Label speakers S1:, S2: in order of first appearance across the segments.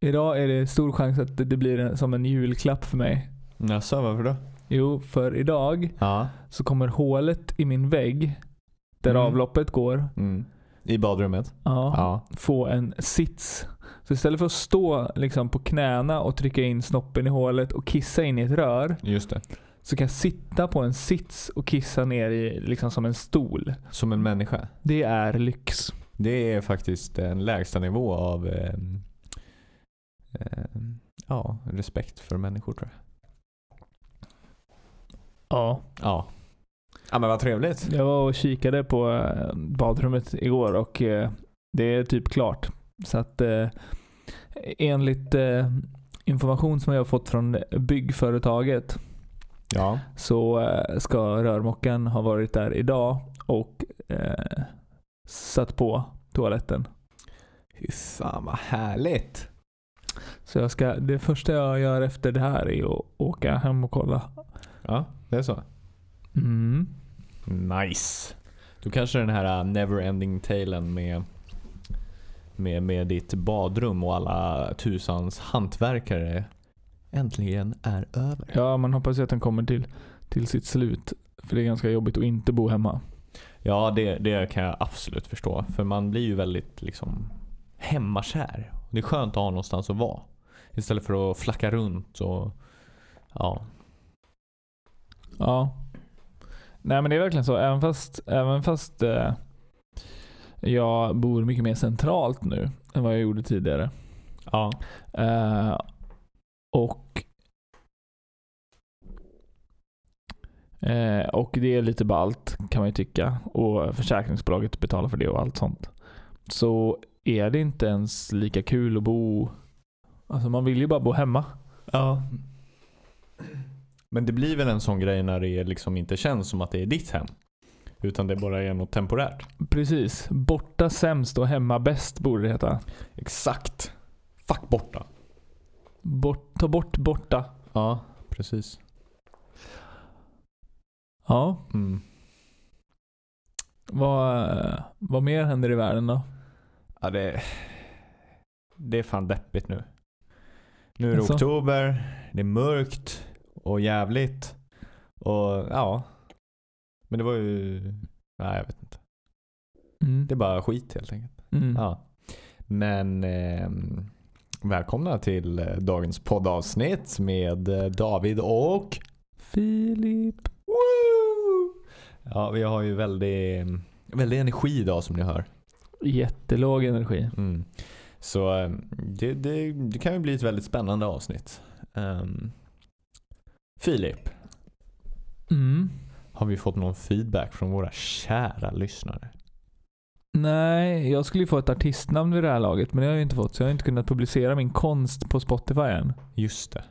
S1: Idag är det stor chans att det blir en, som en julklapp för mig.
S2: Jaså, varför då?
S1: Jo, för idag
S2: Ja.
S1: så kommer hålet i min vägg, där
S2: Mm.
S1: avloppet går,
S2: Mm. I badrummet?
S1: ja,
S2: Ja.
S1: få en sits. Så istället för att stå liksom, på knäna och trycka in snoppen i hålet och kissa in i ett rör,
S2: Just det.
S1: så kan jag sitta på en sits och kissa ner i liksom, som en stol.
S2: Som en människa.
S1: Det är lyx.
S2: Det är faktiskt en lägsta nivå av eh, eh, ja, respekt för människor tror jag.
S1: Ja.
S2: Ja. Ja men vad trevligt.
S1: Jag var och kikade på eh, badrummet igår och eh, det är typ klart. Så att eh, enligt eh, information som jag har fått från byggföretaget
S2: Ja.
S1: så eh, ska rörmokaren ha varit där idag och eh, satt på toaletten.
S2: Fy fan vad härligt.
S1: Så jag ska, det första jag gör efter det här är att åka hem och kolla.
S2: Ja, det är så.
S1: Mm.
S2: Nice. Då kanske den här eh, neverending talen med, med, med ditt badrum och alla tusans hantverkare äntligen är över.
S1: Ja, man hoppas ju att den kommer till, till sitt slut. För det är ganska jobbigt att inte bo hemma.
S2: Ja, det, det kan jag absolut förstå. För man blir ju väldigt liksom hemmakär. Det är skönt att ha någonstans att vara. Istället för att flacka runt och ja.
S1: Ja. Nej men det är verkligen så. Även fast, även fast eh, jag bor mycket mer centralt nu än vad jag gjorde tidigare.
S2: ja.
S1: Eh, och eh, och det är lite ballt kan man ju tycka. Och försäkringsbolaget betalar för det och allt sånt. Så är det inte ens lika kul att bo... Alltså man vill ju bara bo hemma.
S2: ja. Men det blir väl en sån grej när det liksom inte känns som att det är ditt hem. Utan det bara är något temporärt.
S1: Precis. Borta sämst och hemma bäst borde det heta.
S2: Exakt. Fuck borta.
S1: Bort, ta bort borta.
S2: Ja, precis.
S1: Ja.
S2: Mm.
S1: Vad, eh, vad mer händer i världen då?
S2: Ja, det, det är fan deppigt nu. Nu är det
S1: Alltså?
S2: oktober, det är mörkt och jävligt. Och ja. Men det var ju... Nej, jag vet inte.
S1: Mm.
S2: Det är bara skit helt enkelt.
S1: Mm.
S2: Ja. Men ehm, välkomna till eh, dagens poddavsnitt med eh, David och...
S1: Filip.
S2: Woo! Ja, vi har ju väldigt, väldigt energi idag som ni hör.
S1: Jättelåg energi.
S2: Mm. Så eh, det, det, det kan ju bli ett väldigt spännande avsnitt. Ehm, Filip,
S1: Mm.
S2: har vi fått någon feedback från våra kära lyssnare?
S1: Nej, jag skulle ju få ett artistnamn vid det här laget, men det har jag ju inte fått. Så jag har inte kunnat publicera min konst på Spotify än.
S2: Just det.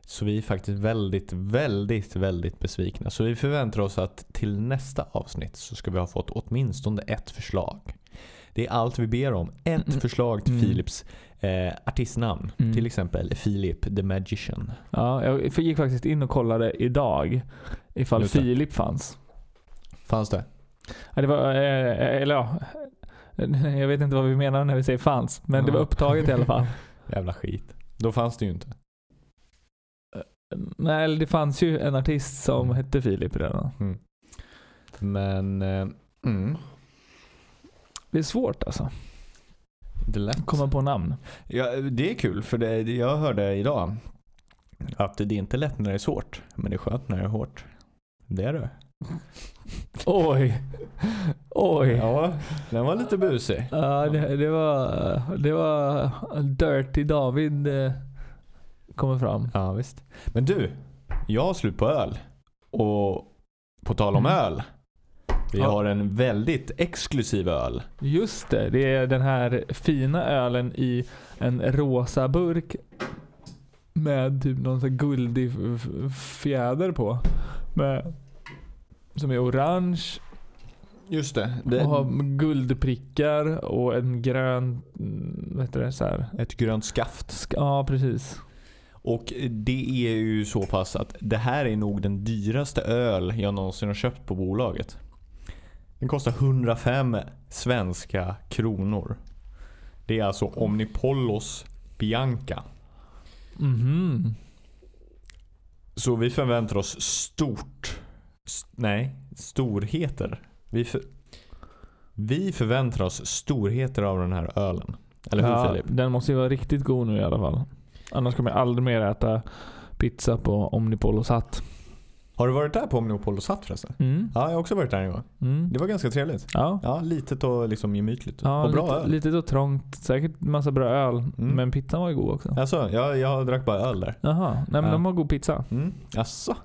S2: Så vi är faktiskt väldigt, väldigt, väldigt besvikna. Så vi förväntar oss att till nästa avsnitt så ska vi ha fått åtminstone ett förslag. Det är allt vi ber om. Ett
S1: Mm.
S2: förslag till
S1: Mm.
S2: Filips eh, artistnamn.
S1: Mm.
S2: Till exempel Filip the Magician.
S1: Ja, jag f- gick faktiskt in och kollade idag ifall
S2: Just det.
S1: Filip fanns.
S2: Fanns det?
S1: Ja, det var, eh, eller ja, jag vet inte vad vi menar när vi säger fanns, men det var
S2: Ja.
S1: upptaget i alla fall.
S2: Jävla skit. Då fanns det ju inte.
S1: Nej, eller det fanns ju en artist som
S2: Mm.
S1: hette Filip redan.
S2: Men eh, mm,
S1: Det är svårt alltså.
S2: det är lätt.
S1: Komma på namn.
S2: Ja, det är kul för det, jag hörde idag att det är inte lätt när det är svårt. Men det är skönt när det är hårt. Det är det.
S1: Oj. Oj. Ja.
S2: Ja, den var lite busig.
S1: det, det, var, det var Dirty David eh, kommer fram.
S2: Ja, visst. Men du, jag har slut på öl. Och på tal om
S1: Mm.
S2: öl. Vi
S1: Ja.
S2: har en väldigt exklusiv öl.
S1: Just det, det är den här fina ölen i en rosa burk med typ någon sån här guldig f- f- fjäder på. Med, som är orange
S2: Just det.
S1: och har guldprickar och en grön... mm, Vad heter det? Så här.
S2: Ett grönt skaft.
S1: Sk- Ja, precis.
S2: Och det är ju så pass att det här är nog den dyraste öl jag någonsin har köpt på bolaget. Den kostar 105 svenska kronor. Det är alltså Omnipollos Bianca.
S1: Mhm.
S2: Så vi förväntar oss stort. S- nej, storheter. Vi, för, vi förväntar oss storheter av den här ölen. Eller hur
S1: ja,
S2: Filip?
S1: Den måste ju vara riktigt god nu i alla fall. Annars kommer jag aldrig mer äta pizza på Omnipol och Satt.
S2: Har du varit där på Omnopol och satt förresten?
S1: Mm.
S2: Ja, jag har också varit där en gång.
S1: Mm.
S2: Det var ganska trevligt.
S1: Ja.
S2: Ja, litet och liksom gemytligt.
S1: Ja,
S2: och bra
S1: lite,
S2: öl.
S1: lite då trångt. Säkert massa bra öl.
S2: Mm.
S1: Men pizzan var ju god också.
S2: Alltså, jag, jag drack bara öl där.
S1: Jaha, nej men
S2: Ja.
S1: de har god pizza.
S2: Mm. Jaså?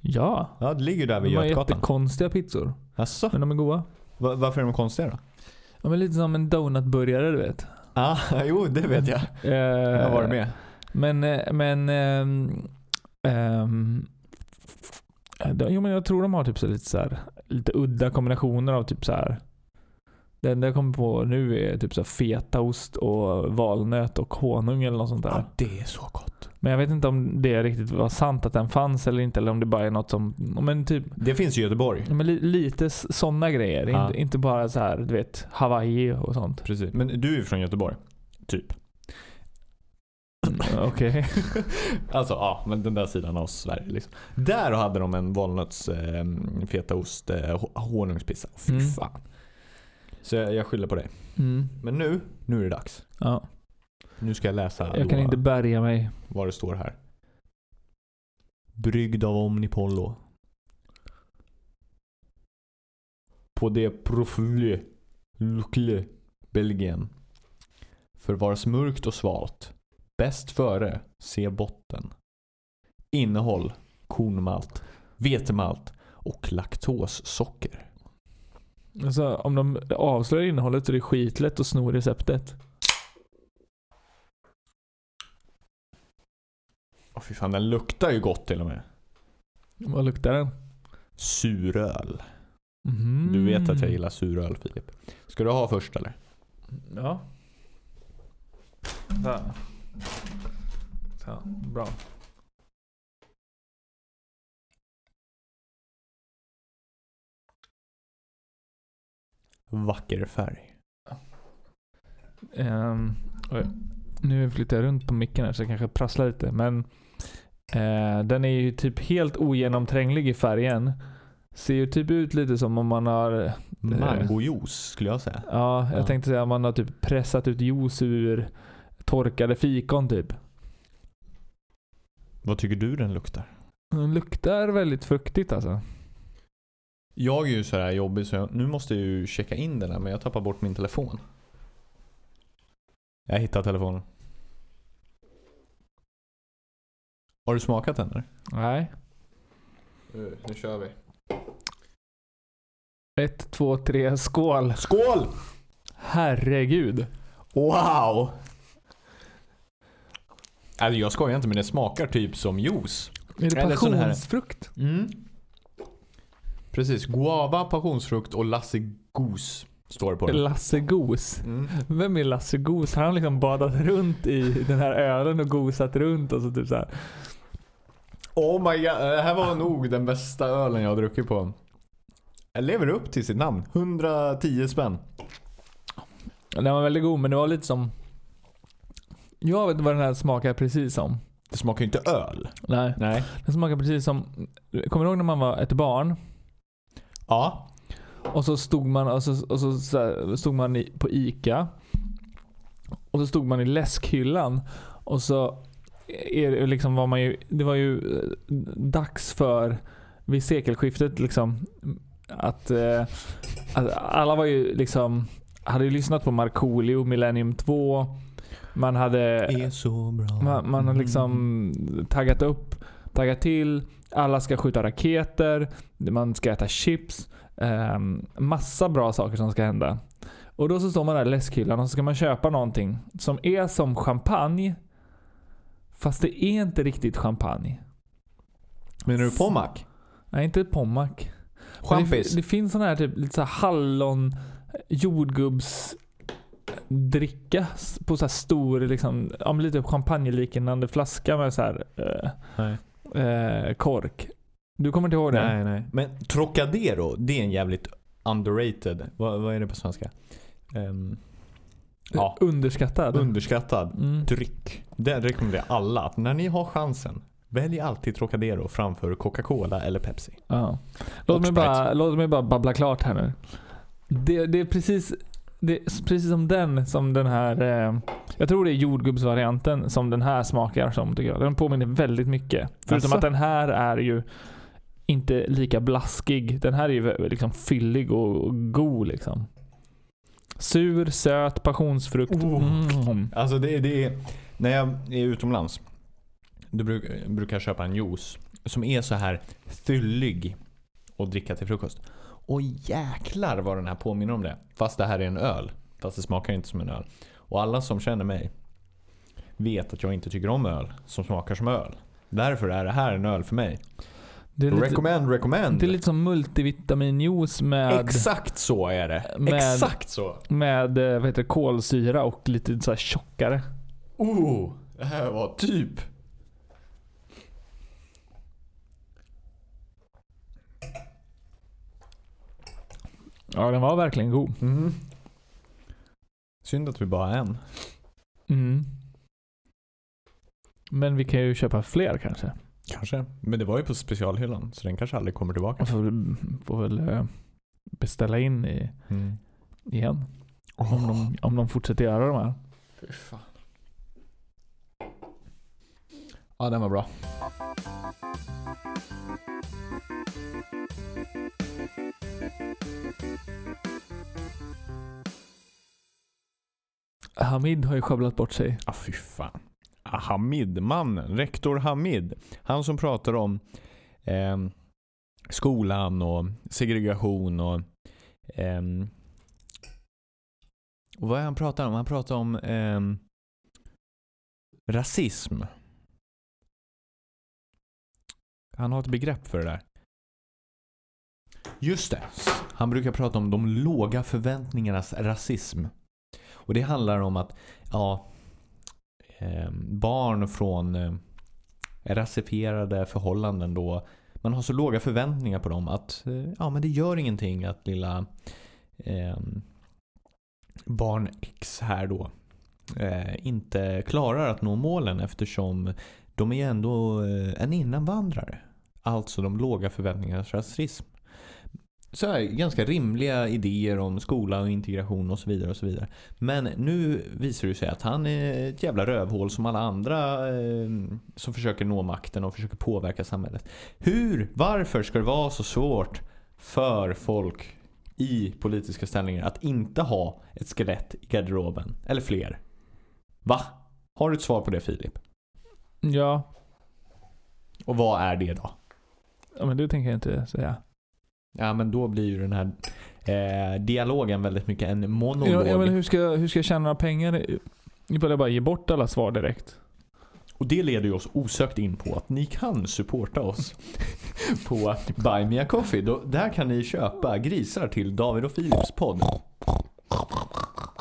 S1: Ja.
S2: Ja, det ligger ju där vid
S1: De har
S2: Götgatan.
S1: jättekonstiga pizzor.
S2: Jaså?
S1: Men de är goda.
S2: Va- Varför är de konstiga då?
S1: De är lite som en donutburgare du vet.
S2: Ah, jo, det vet jag.
S1: Eh,
S2: Jag har varit med.
S1: Men, eh, men... ehm, ehm, de- jo men jag tror de har typ så lite så här, lite udda kombinationer av typ så här. Det enda jag kommer på nu är typ så här fetaost och valnöt och honung eller något sånt där.
S2: Ja, det är så gott.
S1: Men jag vet inte om det riktigt var sant att den fanns eller inte. Eller om det bara är något som... Men typ
S2: Det finns i Göteborg.
S1: men li, lite sådana grejer.
S2: Ja.
S1: Inte, inte bara så här, du vet, Hawaii och sånt.
S2: Precis. Men du är ju från Göteborg. Typ.
S1: Mm, Okej.
S2: Alltså ja, men den där sidan av Sverige. Liksom. Där hade de en valnöts eh, fetaost eh, ho- honungspizza. Fy
S1: Mm.
S2: fan. Så jag, jag skyller på dig.
S1: Mm.
S2: Men nu, nu är det dags.
S1: Ja.
S2: Nu ska jag läsa
S1: Jag kan
S2: då
S1: inte bärga mig.
S2: vad det står här. Bryggd av Omnipollo. På det Profle, Lukle, Belgien. Förvaras mörkt och svalt. Bäst före, se botten. Innehåll, kornmalt, vetemalt och laktossocker.
S1: Alltså, om de avslöjar innehållet så är det skitlätt att sno receptet.
S2: Åh fy fan, den luktar ju gott till och med.
S1: Vad luktar den?
S2: Suröl.
S1: Mhm.
S2: Mm. Du vet att jag gillar suröl Filip. Ska du ha först eller?
S1: Ja. Så. här. Så, här, bra.
S2: Vacker färg.
S1: Ehm, oj. nu flyttar jag runt på micken här så jag kanske prasslar lite. Men eh, den är ju typ helt ogenomtränglig i färgen. Ser ju typ ut lite som om man har,
S2: Mangojuice Eh, skulle jag säga.
S1: ja, jag
S2: Ja.
S1: tänkte säga om man har typ pressat ut juice ur torkade fikon typ.
S2: Vad tycker du den luktar?
S1: Den luktar väldigt fruktigt alltså.
S2: Jag är ju så här jobbig så jag, nu måste jag ju checka in den här men jag tappar bort min telefon. Jag hittar telefonen. Har du smakat den eller?
S1: Nej.
S2: Nu, Eh, nu kör vi.
S1: Ett, två, tre, skål.
S2: Skål!
S1: Herregud.
S2: Wow! Alltså jag skojar inte men det smakar typ som juice.
S1: Är det
S2: Eller sån här-
S1: passionsfrukt?
S2: Precis. Guava, passionsfrukt och lassegos står det på den.
S1: Lasse Gos.
S2: Mm.
S1: Vem är Lasse Gos? Han har liksom badat runt i den här ölen och gosat runt och så typ så här.
S2: Oh my god, det här var nog den bästa ölen jag har druckit på. Jag lever upp till sitt namn. 110 spänn.
S1: Den var väldigt god men det var lite som... Jag vet inte vad den här smakar precis som.
S2: Det smakar ju inte öl.
S1: Nej.
S2: Nej.
S1: Den smakar precis som... Kommer du ihåg när man var ett barn?
S2: Ja.
S1: Och så stod man, och så, och så, så här, stod man i, på ICA. Och så stod man i läskhyllan. Och så är, det liksom var man ju... Det var ju eh, dags för vid sekelskiftet liksom att, eh, att alla var ju liksom hade ju lyssnat på Markoolio, Millennium 2. Man hade
S2: är så bra.
S1: man, man har liksom taggat upp, taggat till. Alla ska skjuta raketer. Man ska äta chips. ehm, massa bra saker som ska hända. Och då så står man där i läskhyllan och så ska man köpa någonting som är som champagne. Fast det är inte riktigt champagne.
S2: Menar du Pommac?
S1: Nej, inte Pommac. Men Det,
S2: Champis?
S1: det finns sån här typ lite så här hallon jordgubbs dricka s- på så här stor liksom, ja, men lite champagneliknande flaska med så här eh,
S2: Nej.
S1: eh, kork. Du kommer inte ihåg det?
S2: nej, nej. Men Trocadero, det är en jävligt underrated. Vad, vad är det på svenska? Ehm, Ja.
S1: Underskattad.
S2: Underskattad
S1: Mm.
S2: dryck. Den rekommenderar jag alla att när ni har chansen, välj alltid Trocadero framför Coca-Cola eller Pepsi.
S1: Ja.
S2: Och
S1: Låt, mig
S2: Sprite.
S1: bara, låt mig bara babbla klart här nu. Det, det är precis det är precis som den som den här... Eh, jag tror det är jordgubbsvarianten som den här smakar som tycker jag. Den påminner väldigt mycket. Förutom
S2: Asså?
S1: att den här är ju inte lika blaskig. Den här är ju vä- liksom fyllig och, och god liksom. Sur, söt, passionsfrukt.
S2: Oh.
S1: Mm.
S2: Alltså det, det är, när jag är utomlands, då bruk, brukar jag köpa en juice som är så här fyllig och dricka till frukost. Och jäklar vad den här påminner om det. Fast det här är en öl. Fast det smakar inte som en öl. Och alla som känner mig vet att jag inte tycker om öl som smakar som öl. Därför är det här en öl för mig.
S1: Det, är lite,
S2: recommend, recommend.
S1: det är lite som multivitaminjuice med,
S2: Exakt så är det.
S1: Med-
S2: Exakt så.
S1: med eh, vad heter, det, kolsyra och lite så här tjockare.
S2: Oh, det här var typ.
S1: Ja, den var verkligen god.
S2: Mm. Synd att vi bara har en.
S1: Mm. Men vi kan ju köpa fler kanske.
S2: Kanske. Men det var ju på specialhyllan, så den kanske aldrig kommer tillbaka.
S1: Och får, väl- får väl eh, beställa in i, igen. Om, de, om de fortsätter göra de här.
S2: Fy fan. Ja, den var bra.
S1: Hamid har ju sjabblat bort sig.
S2: Ja, fy fan. Ah, Hamid, mannen. Rektor Hamid. Han som pratar om ehm, skolan och segregation och... ehm, och vad är han pratar om? Han pratar om ehm, rasism. Han har ett begrepp för det där. Just det. Han brukar prata om de låga förväntningarnas rasism. Och det handlar om att ja, eh, barn från eh, rasifierade förhållanden då man har så låga förväntningar på dem att eh, ja, men det gör ingenting att lilla eh, barn X här då eh, inte klarar att nå målen eftersom de är ju ändå eh, en invandrare. Alltså de låga förväntningarnas rasism. Så här, ganska rimliga idéer om skola och integration och så vidare. och så vidare. Men nu visar det sig att han är ett jävla rövhål som alla andra eh, som försöker nå makten och försöker påverka samhället. Hur, varför ska det vara så svårt för folk i politiska ställningar att inte ha ett skelett i garderoben? Eller fler? Va? Har du ett svar på det Filip?
S1: Ja,
S2: Och vad är det då?
S1: ja, men det tänker jag inte säga.
S2: Ja men då blir ju den här eh, dialogen väldigt mycket en monolog.
S1: Ja, ja, men hur, ska, jag- hur ska jag tjäna några pengar ifall jag bara ger bort alla svar direkt?
S2: Och det leder ju oss osökt in på att ni kan supporta oss på Buy Me A Coffee. Då, där kan ni köpa grisar till David och Philips podd.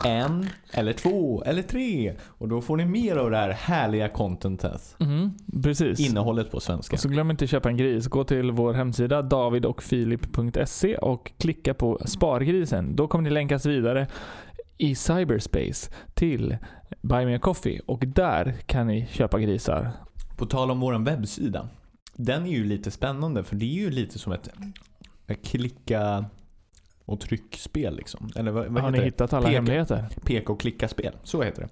S2: En, eller två, eller tre. Och då får ni mer av det här härliga contentet.
S1: Mm, precis.
S2: Innehållet på svenska.
S1: Och så glöm inte att köpa en gris. Gå till vår hemsida davidochfilip.se och klicka på Spargrisen. Då kommer ni länkas vidare i cyberspace till Buy Me A Coffee och där kan ni köpa grisar.
S2: På tal om vår webbsida. Den är ju lite spännande för det är ju lite som ett, ett klicka och tryckspel liksom. Eller vad, vad
S1: Har
S2: heter
S1: ni
S2: det?
S1: hittat alla
S2: Peka.
S1: hemligheter?
S2: peka och klicka spel. Så heter det.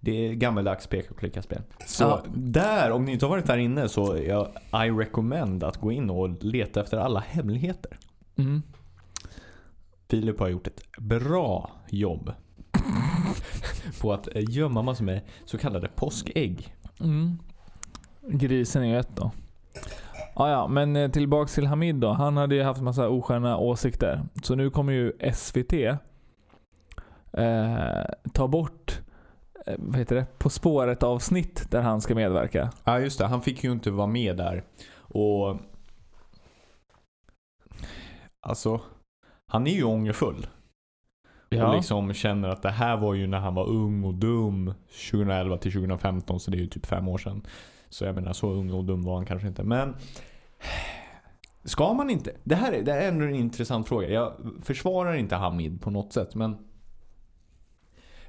S2: Det är gammeldags peka och klicka spel. Så
S1: Ja.
S2: där, om ni inte har varit där inne så jag, I recommend att gå in och leta efter alla hemligheter.
S1: Mm.
S2: Filip har gjort ett bra jobb på att eh, gömma massor med så kallade påskägg.
S1: Mm. Grisen är ju ett då. Ah, ja, men eh, tillbaks till Hamid då. Han hade ju haft massa osköna åsikter. Så nu kommer ju SVT eh, ta bort eh, vad heter det? På spåret avsnitt där han ska medverka.
S2: Ja just det, han fick ju inte vara med där. Och... Alltså, han är ju ångerfull. Och liksom känner att det här var ju när han var ung och dum. 2011 till 2015 så det är ju typ fem år sedan. Så jag menar så ung och dum var han kanske inte. Men ska man inte? Det här är, det här är ändå en intressant fråga. Jag försvarar inte Hamid på något sätt men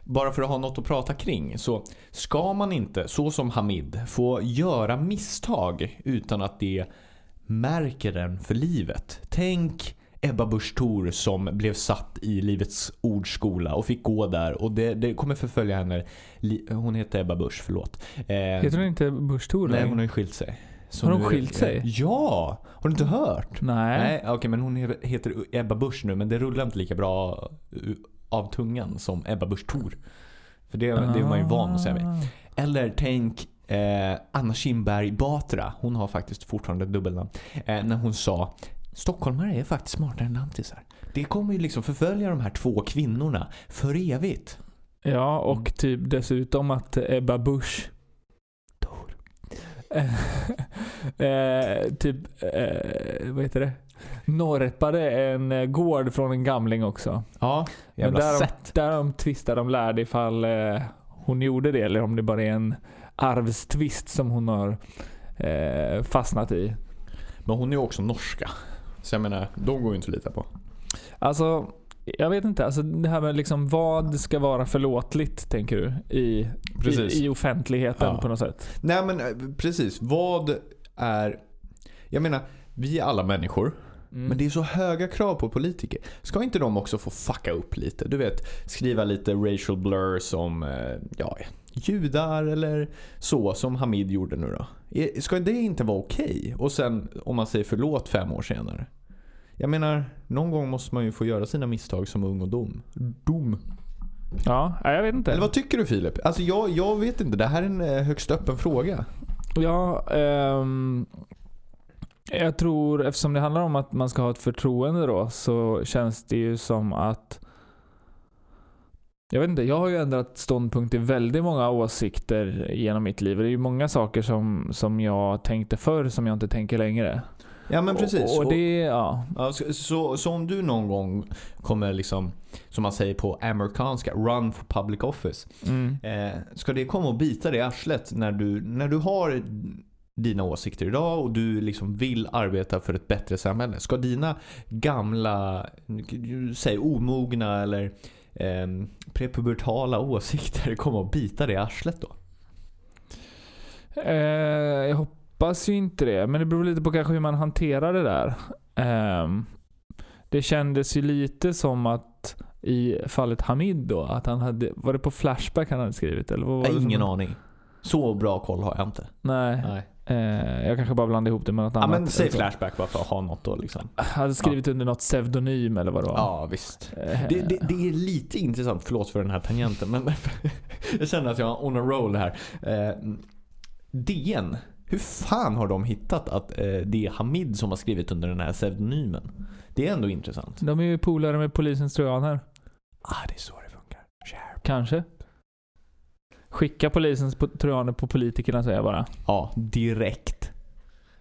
S2: bara för att ha något att prata kring, så ska man inte, så som Hamid, få göra misstag utan att det märker en för livet. Tänk Ebba Busch Thor som blev satt i Livets ordskola och fick gå där och det, det kommer förfölja henne. Li- Hon heter Ebba Busch, förlåt. Eh,
S1: Heter hon inte Busch Thor?
S2: Nej,
S1: längre?
S2: hon har ju skilt sig. Så
S1: Har hon
S2: nu är-
S1: skilt sig?
S2: Ja! Har du inte hört?
S1: Nej.
S2: Nej, okej men hon he- heter Ebba Busch nu men det rullar inte lika bra u- av tungan som Ebba Busch Thor. För det, det är man ju van att säga. Med.
S1: Ah.
S2: Eller tänk eh, Anna Kinberg Batra, hon har faktiskt fortfarande ett dubbelnamn. Eh, när hon sa Stockholmare är faktiskt smartare än lantisar. Det kommer ju liksom förfölja de här två kvinnorna för evigt.
S1: Ja, och
S2: Mm.
S1: typ dessutom att Ebba Busch
S2: Thor.
S1: eh, typ, eh, vad heter det? Norpade en eh, gård från en gamling också.
S2: Ja,
S1: Men
S2: jävla
S1: där-
S2: sätt.
S1: Där de tvistade om lärde ifall eh, hon gjorde det eller om det bara är en arvstvist som hon har eh, fastnat i.
S2: Men hon är ju också norska. Så jag menar, de går ju inte att lita på.
S1: Alltså, jag vet inte. Alltså, det här med liksom vad ska vara förlåtligt, tänker du? I,
S2: Precis.
S1: i, i offentligheten
S2: Ja.
S1: på något sätt.
S2: Nej men eh, precis. Vad är... Jag menar, vi är alla människor.
S1: Mm.
S2: Men det är så höga krav på politiker. Ska inte de också få fucka upp lite? Du vet, skriva lite racial blurs om eh, ja, judar eller så som Hamid gjorde nu då. Eh, Ska det inte vara okej? Och sen om man säger förlåt fem år senare. Jag menar, någon gång måste man ju få göra sina misstag som ung och dom. Dom.
S1: Ja, nej, jag vet inte.
S2: Eller vad tycker du Filip? Alltså jag, jag vet inte. Det här är en eh, högst öppen fråga.
S1: Ja, ehm, jag tror eftersom det handlar om att man ska ha ett förtroende då så känns det ju som att jag vet inte, jag har ju ändrat ståndpunkt i väldigt många åsikter genom mitt liv. Det är ju många saker som, som jag tänkte förr som jag inte tänker längre.
S2: Ja men precis.
S1: Och, och det, ja.
S2: Ja, så- så, så om du någon gång kommer liksom, som man säger på amerikanska, run for public office.
S1: Mm.
S2: Eh, ska det komma och bita dig i arslet när du, när du har dina åsikter idag och du liksom vill arbeta för ett bättre samhälle? Ska dina gamla, säg omogna eller eh, prepubertala åsikter komma och bita dig i arslet då?
S1: Eh, jag hoppas ju inte det, men det beror lite på kanske hur man hanterar det där. Ehm, det kändes ju lite som att i fallet Hamid då, att han hade, var det på Flashback han hade skrivit? Eller vad var
S2: Jag
S1: det
S2: har
S1: som-
S2: ingen aning. Så bra koll har jag inte.
S1: Nej,
S2: Nej.
S1: eh, jag kanske bara blandade ihop det med något
S2: Ja,
S1: annat.
S2: men säg Flashback bara för att ha något då liksom.
S1: Han hade skrivit under något pseudonym eller vad det var.
S2: Ja, visst.
S1: Eh,
S2: Det, det, det är lite intressant, förlåt för den här tangenten men jag känner att jag är on a roll här. Eh, DN, hur fan har de hittat att eh, det är Hamid som har skrivit under den här pseudonymen? Det är ändå intressant.
S1: De är ju polare med polisens trojaner.
S2: Ah, det är så det funkar. Share.
S1: Kanske. Skicka polisens po- trojaner på politikerna säger jag bara.
S2: Ja, direkt.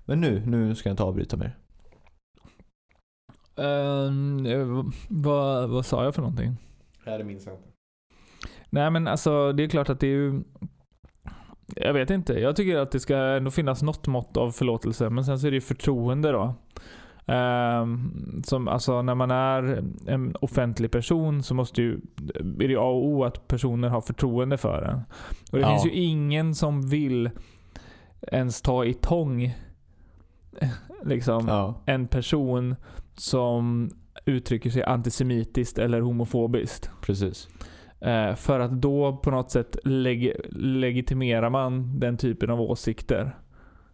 S2: Men nu, nu ska jag inte avbryta mer.
S1: Ehm, eh, vad, vad sa jag för någonting?
S2: Ja, det minns jag inte.
S1: Nej men alltså det är klart att det är ju... Jag vet inte. Jag tycker att det ska ändå finnas något mått av förlåtelse. Men sen så är det ju förtroende då. Ehm, som, alltså när man är en offentlig person så måste ju, är det ju A och O att personer har förtroende för en. Och det
S2: Ja.
S1: finns ju ingen som vill ens ta i tång liksom,
S2: Ja.
S1: en person som uttrycker sig antisemitiskt eller homofobiskt.
S2: Precis.
S1: Eh, för att då på något sätt leg- legitimerar man den typen av åsikter.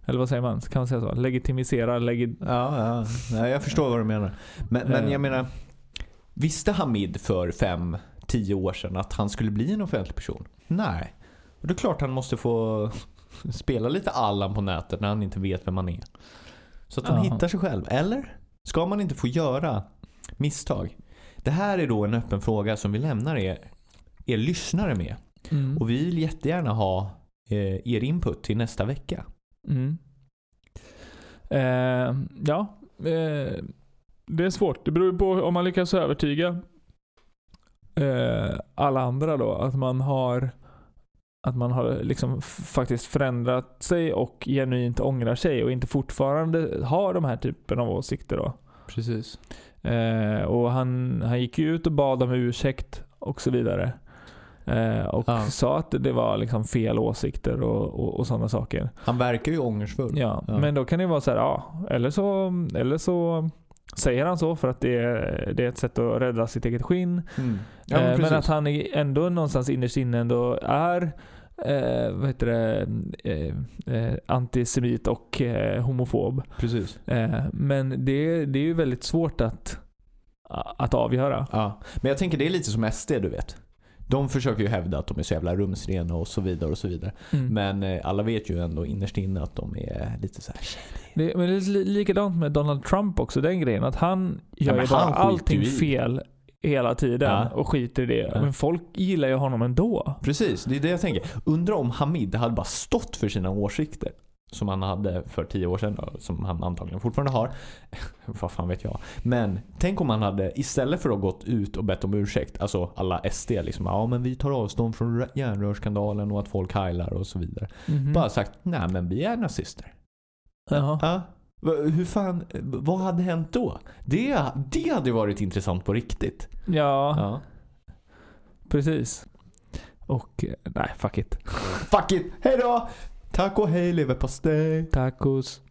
S1: Eller vad säger man? Kan man säga så? Legitimisera, legi-
S2: Ja, ja. Nej, jag förstår vad du menar. Men, men
S1: Eh.
S2: jag menar, visste Hamid för fem, tio år sedan att han skulle bli en offentlig person? Nej. Och det är klart han måste få spela lite Allan på nätet när han inte vet vem han är. Så att han
S1: Jaha.
S2: hittar sig själv. Eller? Ska man inte få göra misstag? Det här är då en öppen fråga som vi lämnar er, er lyssnare med.
S1: Mm.
S2: Och vi vill jättegärna ha eh, er input till nästa vecka.
S1: Mm. Eh, ja. Eh, det är svårt. Det beror ju på om man lyckas övertyga eh, alla andra då. Att man har att man har liksom f- faktiskt förändrat sig och genuint ångrar sig och inte fortfarande har de här typen av åsikter då.
S2: Precis.
S1: Eh, och han, han gick ju ut och bad om ursäkt och så vidare. Eh, och
S2: Ja.
S1: sa att det var liksom fel åsikter och, och, och sådana saker.
S2: Han verkar ju ångerfull.
S1: Ja,
S2: Ja.
S1: Men då kan det vara så här, ja, eller så, eller så säger han så för att det är, det är ett sätt att rädda sitt eget skinn.
S2: Mm.
S1: Eh, men,
S2: precis.
S1: att han är- ändå någonstans innerst inne ändå är eh, vad heter det, eh, eh, antisemit och eh, homofob.
S2: precis.
S1: Eh, men det, det är ju väldigt svårt att, att avgöra.
S2: Ja. Men jag tänker det är lite som SD du vet. De försöker ju hävda att de är så jävla rumsrena och så vidare och så vidare.
S1: Mm.
S2: Men eh, alla vet ju ändå innerst inne att de är lite så här.
S1: Det, men det är li- likadant med Donald Trump också, den grejen. Att han gör
S2: men
S1: ju bara
S2: han skiter
S1: allting
S2: ju i.
S1: fel hela tiden
S2: Ja.
S1: och skiter i det.
S2: Ja.
S1: Men folk gillar ju honom ändå.
S2: Precis, det är det jag tänker. Undrar om Hamid hade bara stått för sina åsikter. Som han hade för tio år sedan, då, som han antagligen fortfarande har. Vad fan vet jag. Men tänk om han hade, istället för att gått ut och bett om ursäkt, alltså alla SD liksom. Ja men vi tar avstånd från rö- järnrörsskandalen och att folk heilar och så vidare.
S1: Mhm.
S2: Bara sagt, nej men vi är nazister.
S1: Jaha.
S2: Ja. Va- Hur fan, vad hade hänt då? Det, det hade varit intressant på riktigt.
S1: Ja,
S2: Ja.
S1: precis. Och eh, nej, fuck it.
S2: Fuck it, hejdå! Tack och hej leverpastej!
S1: Tacos.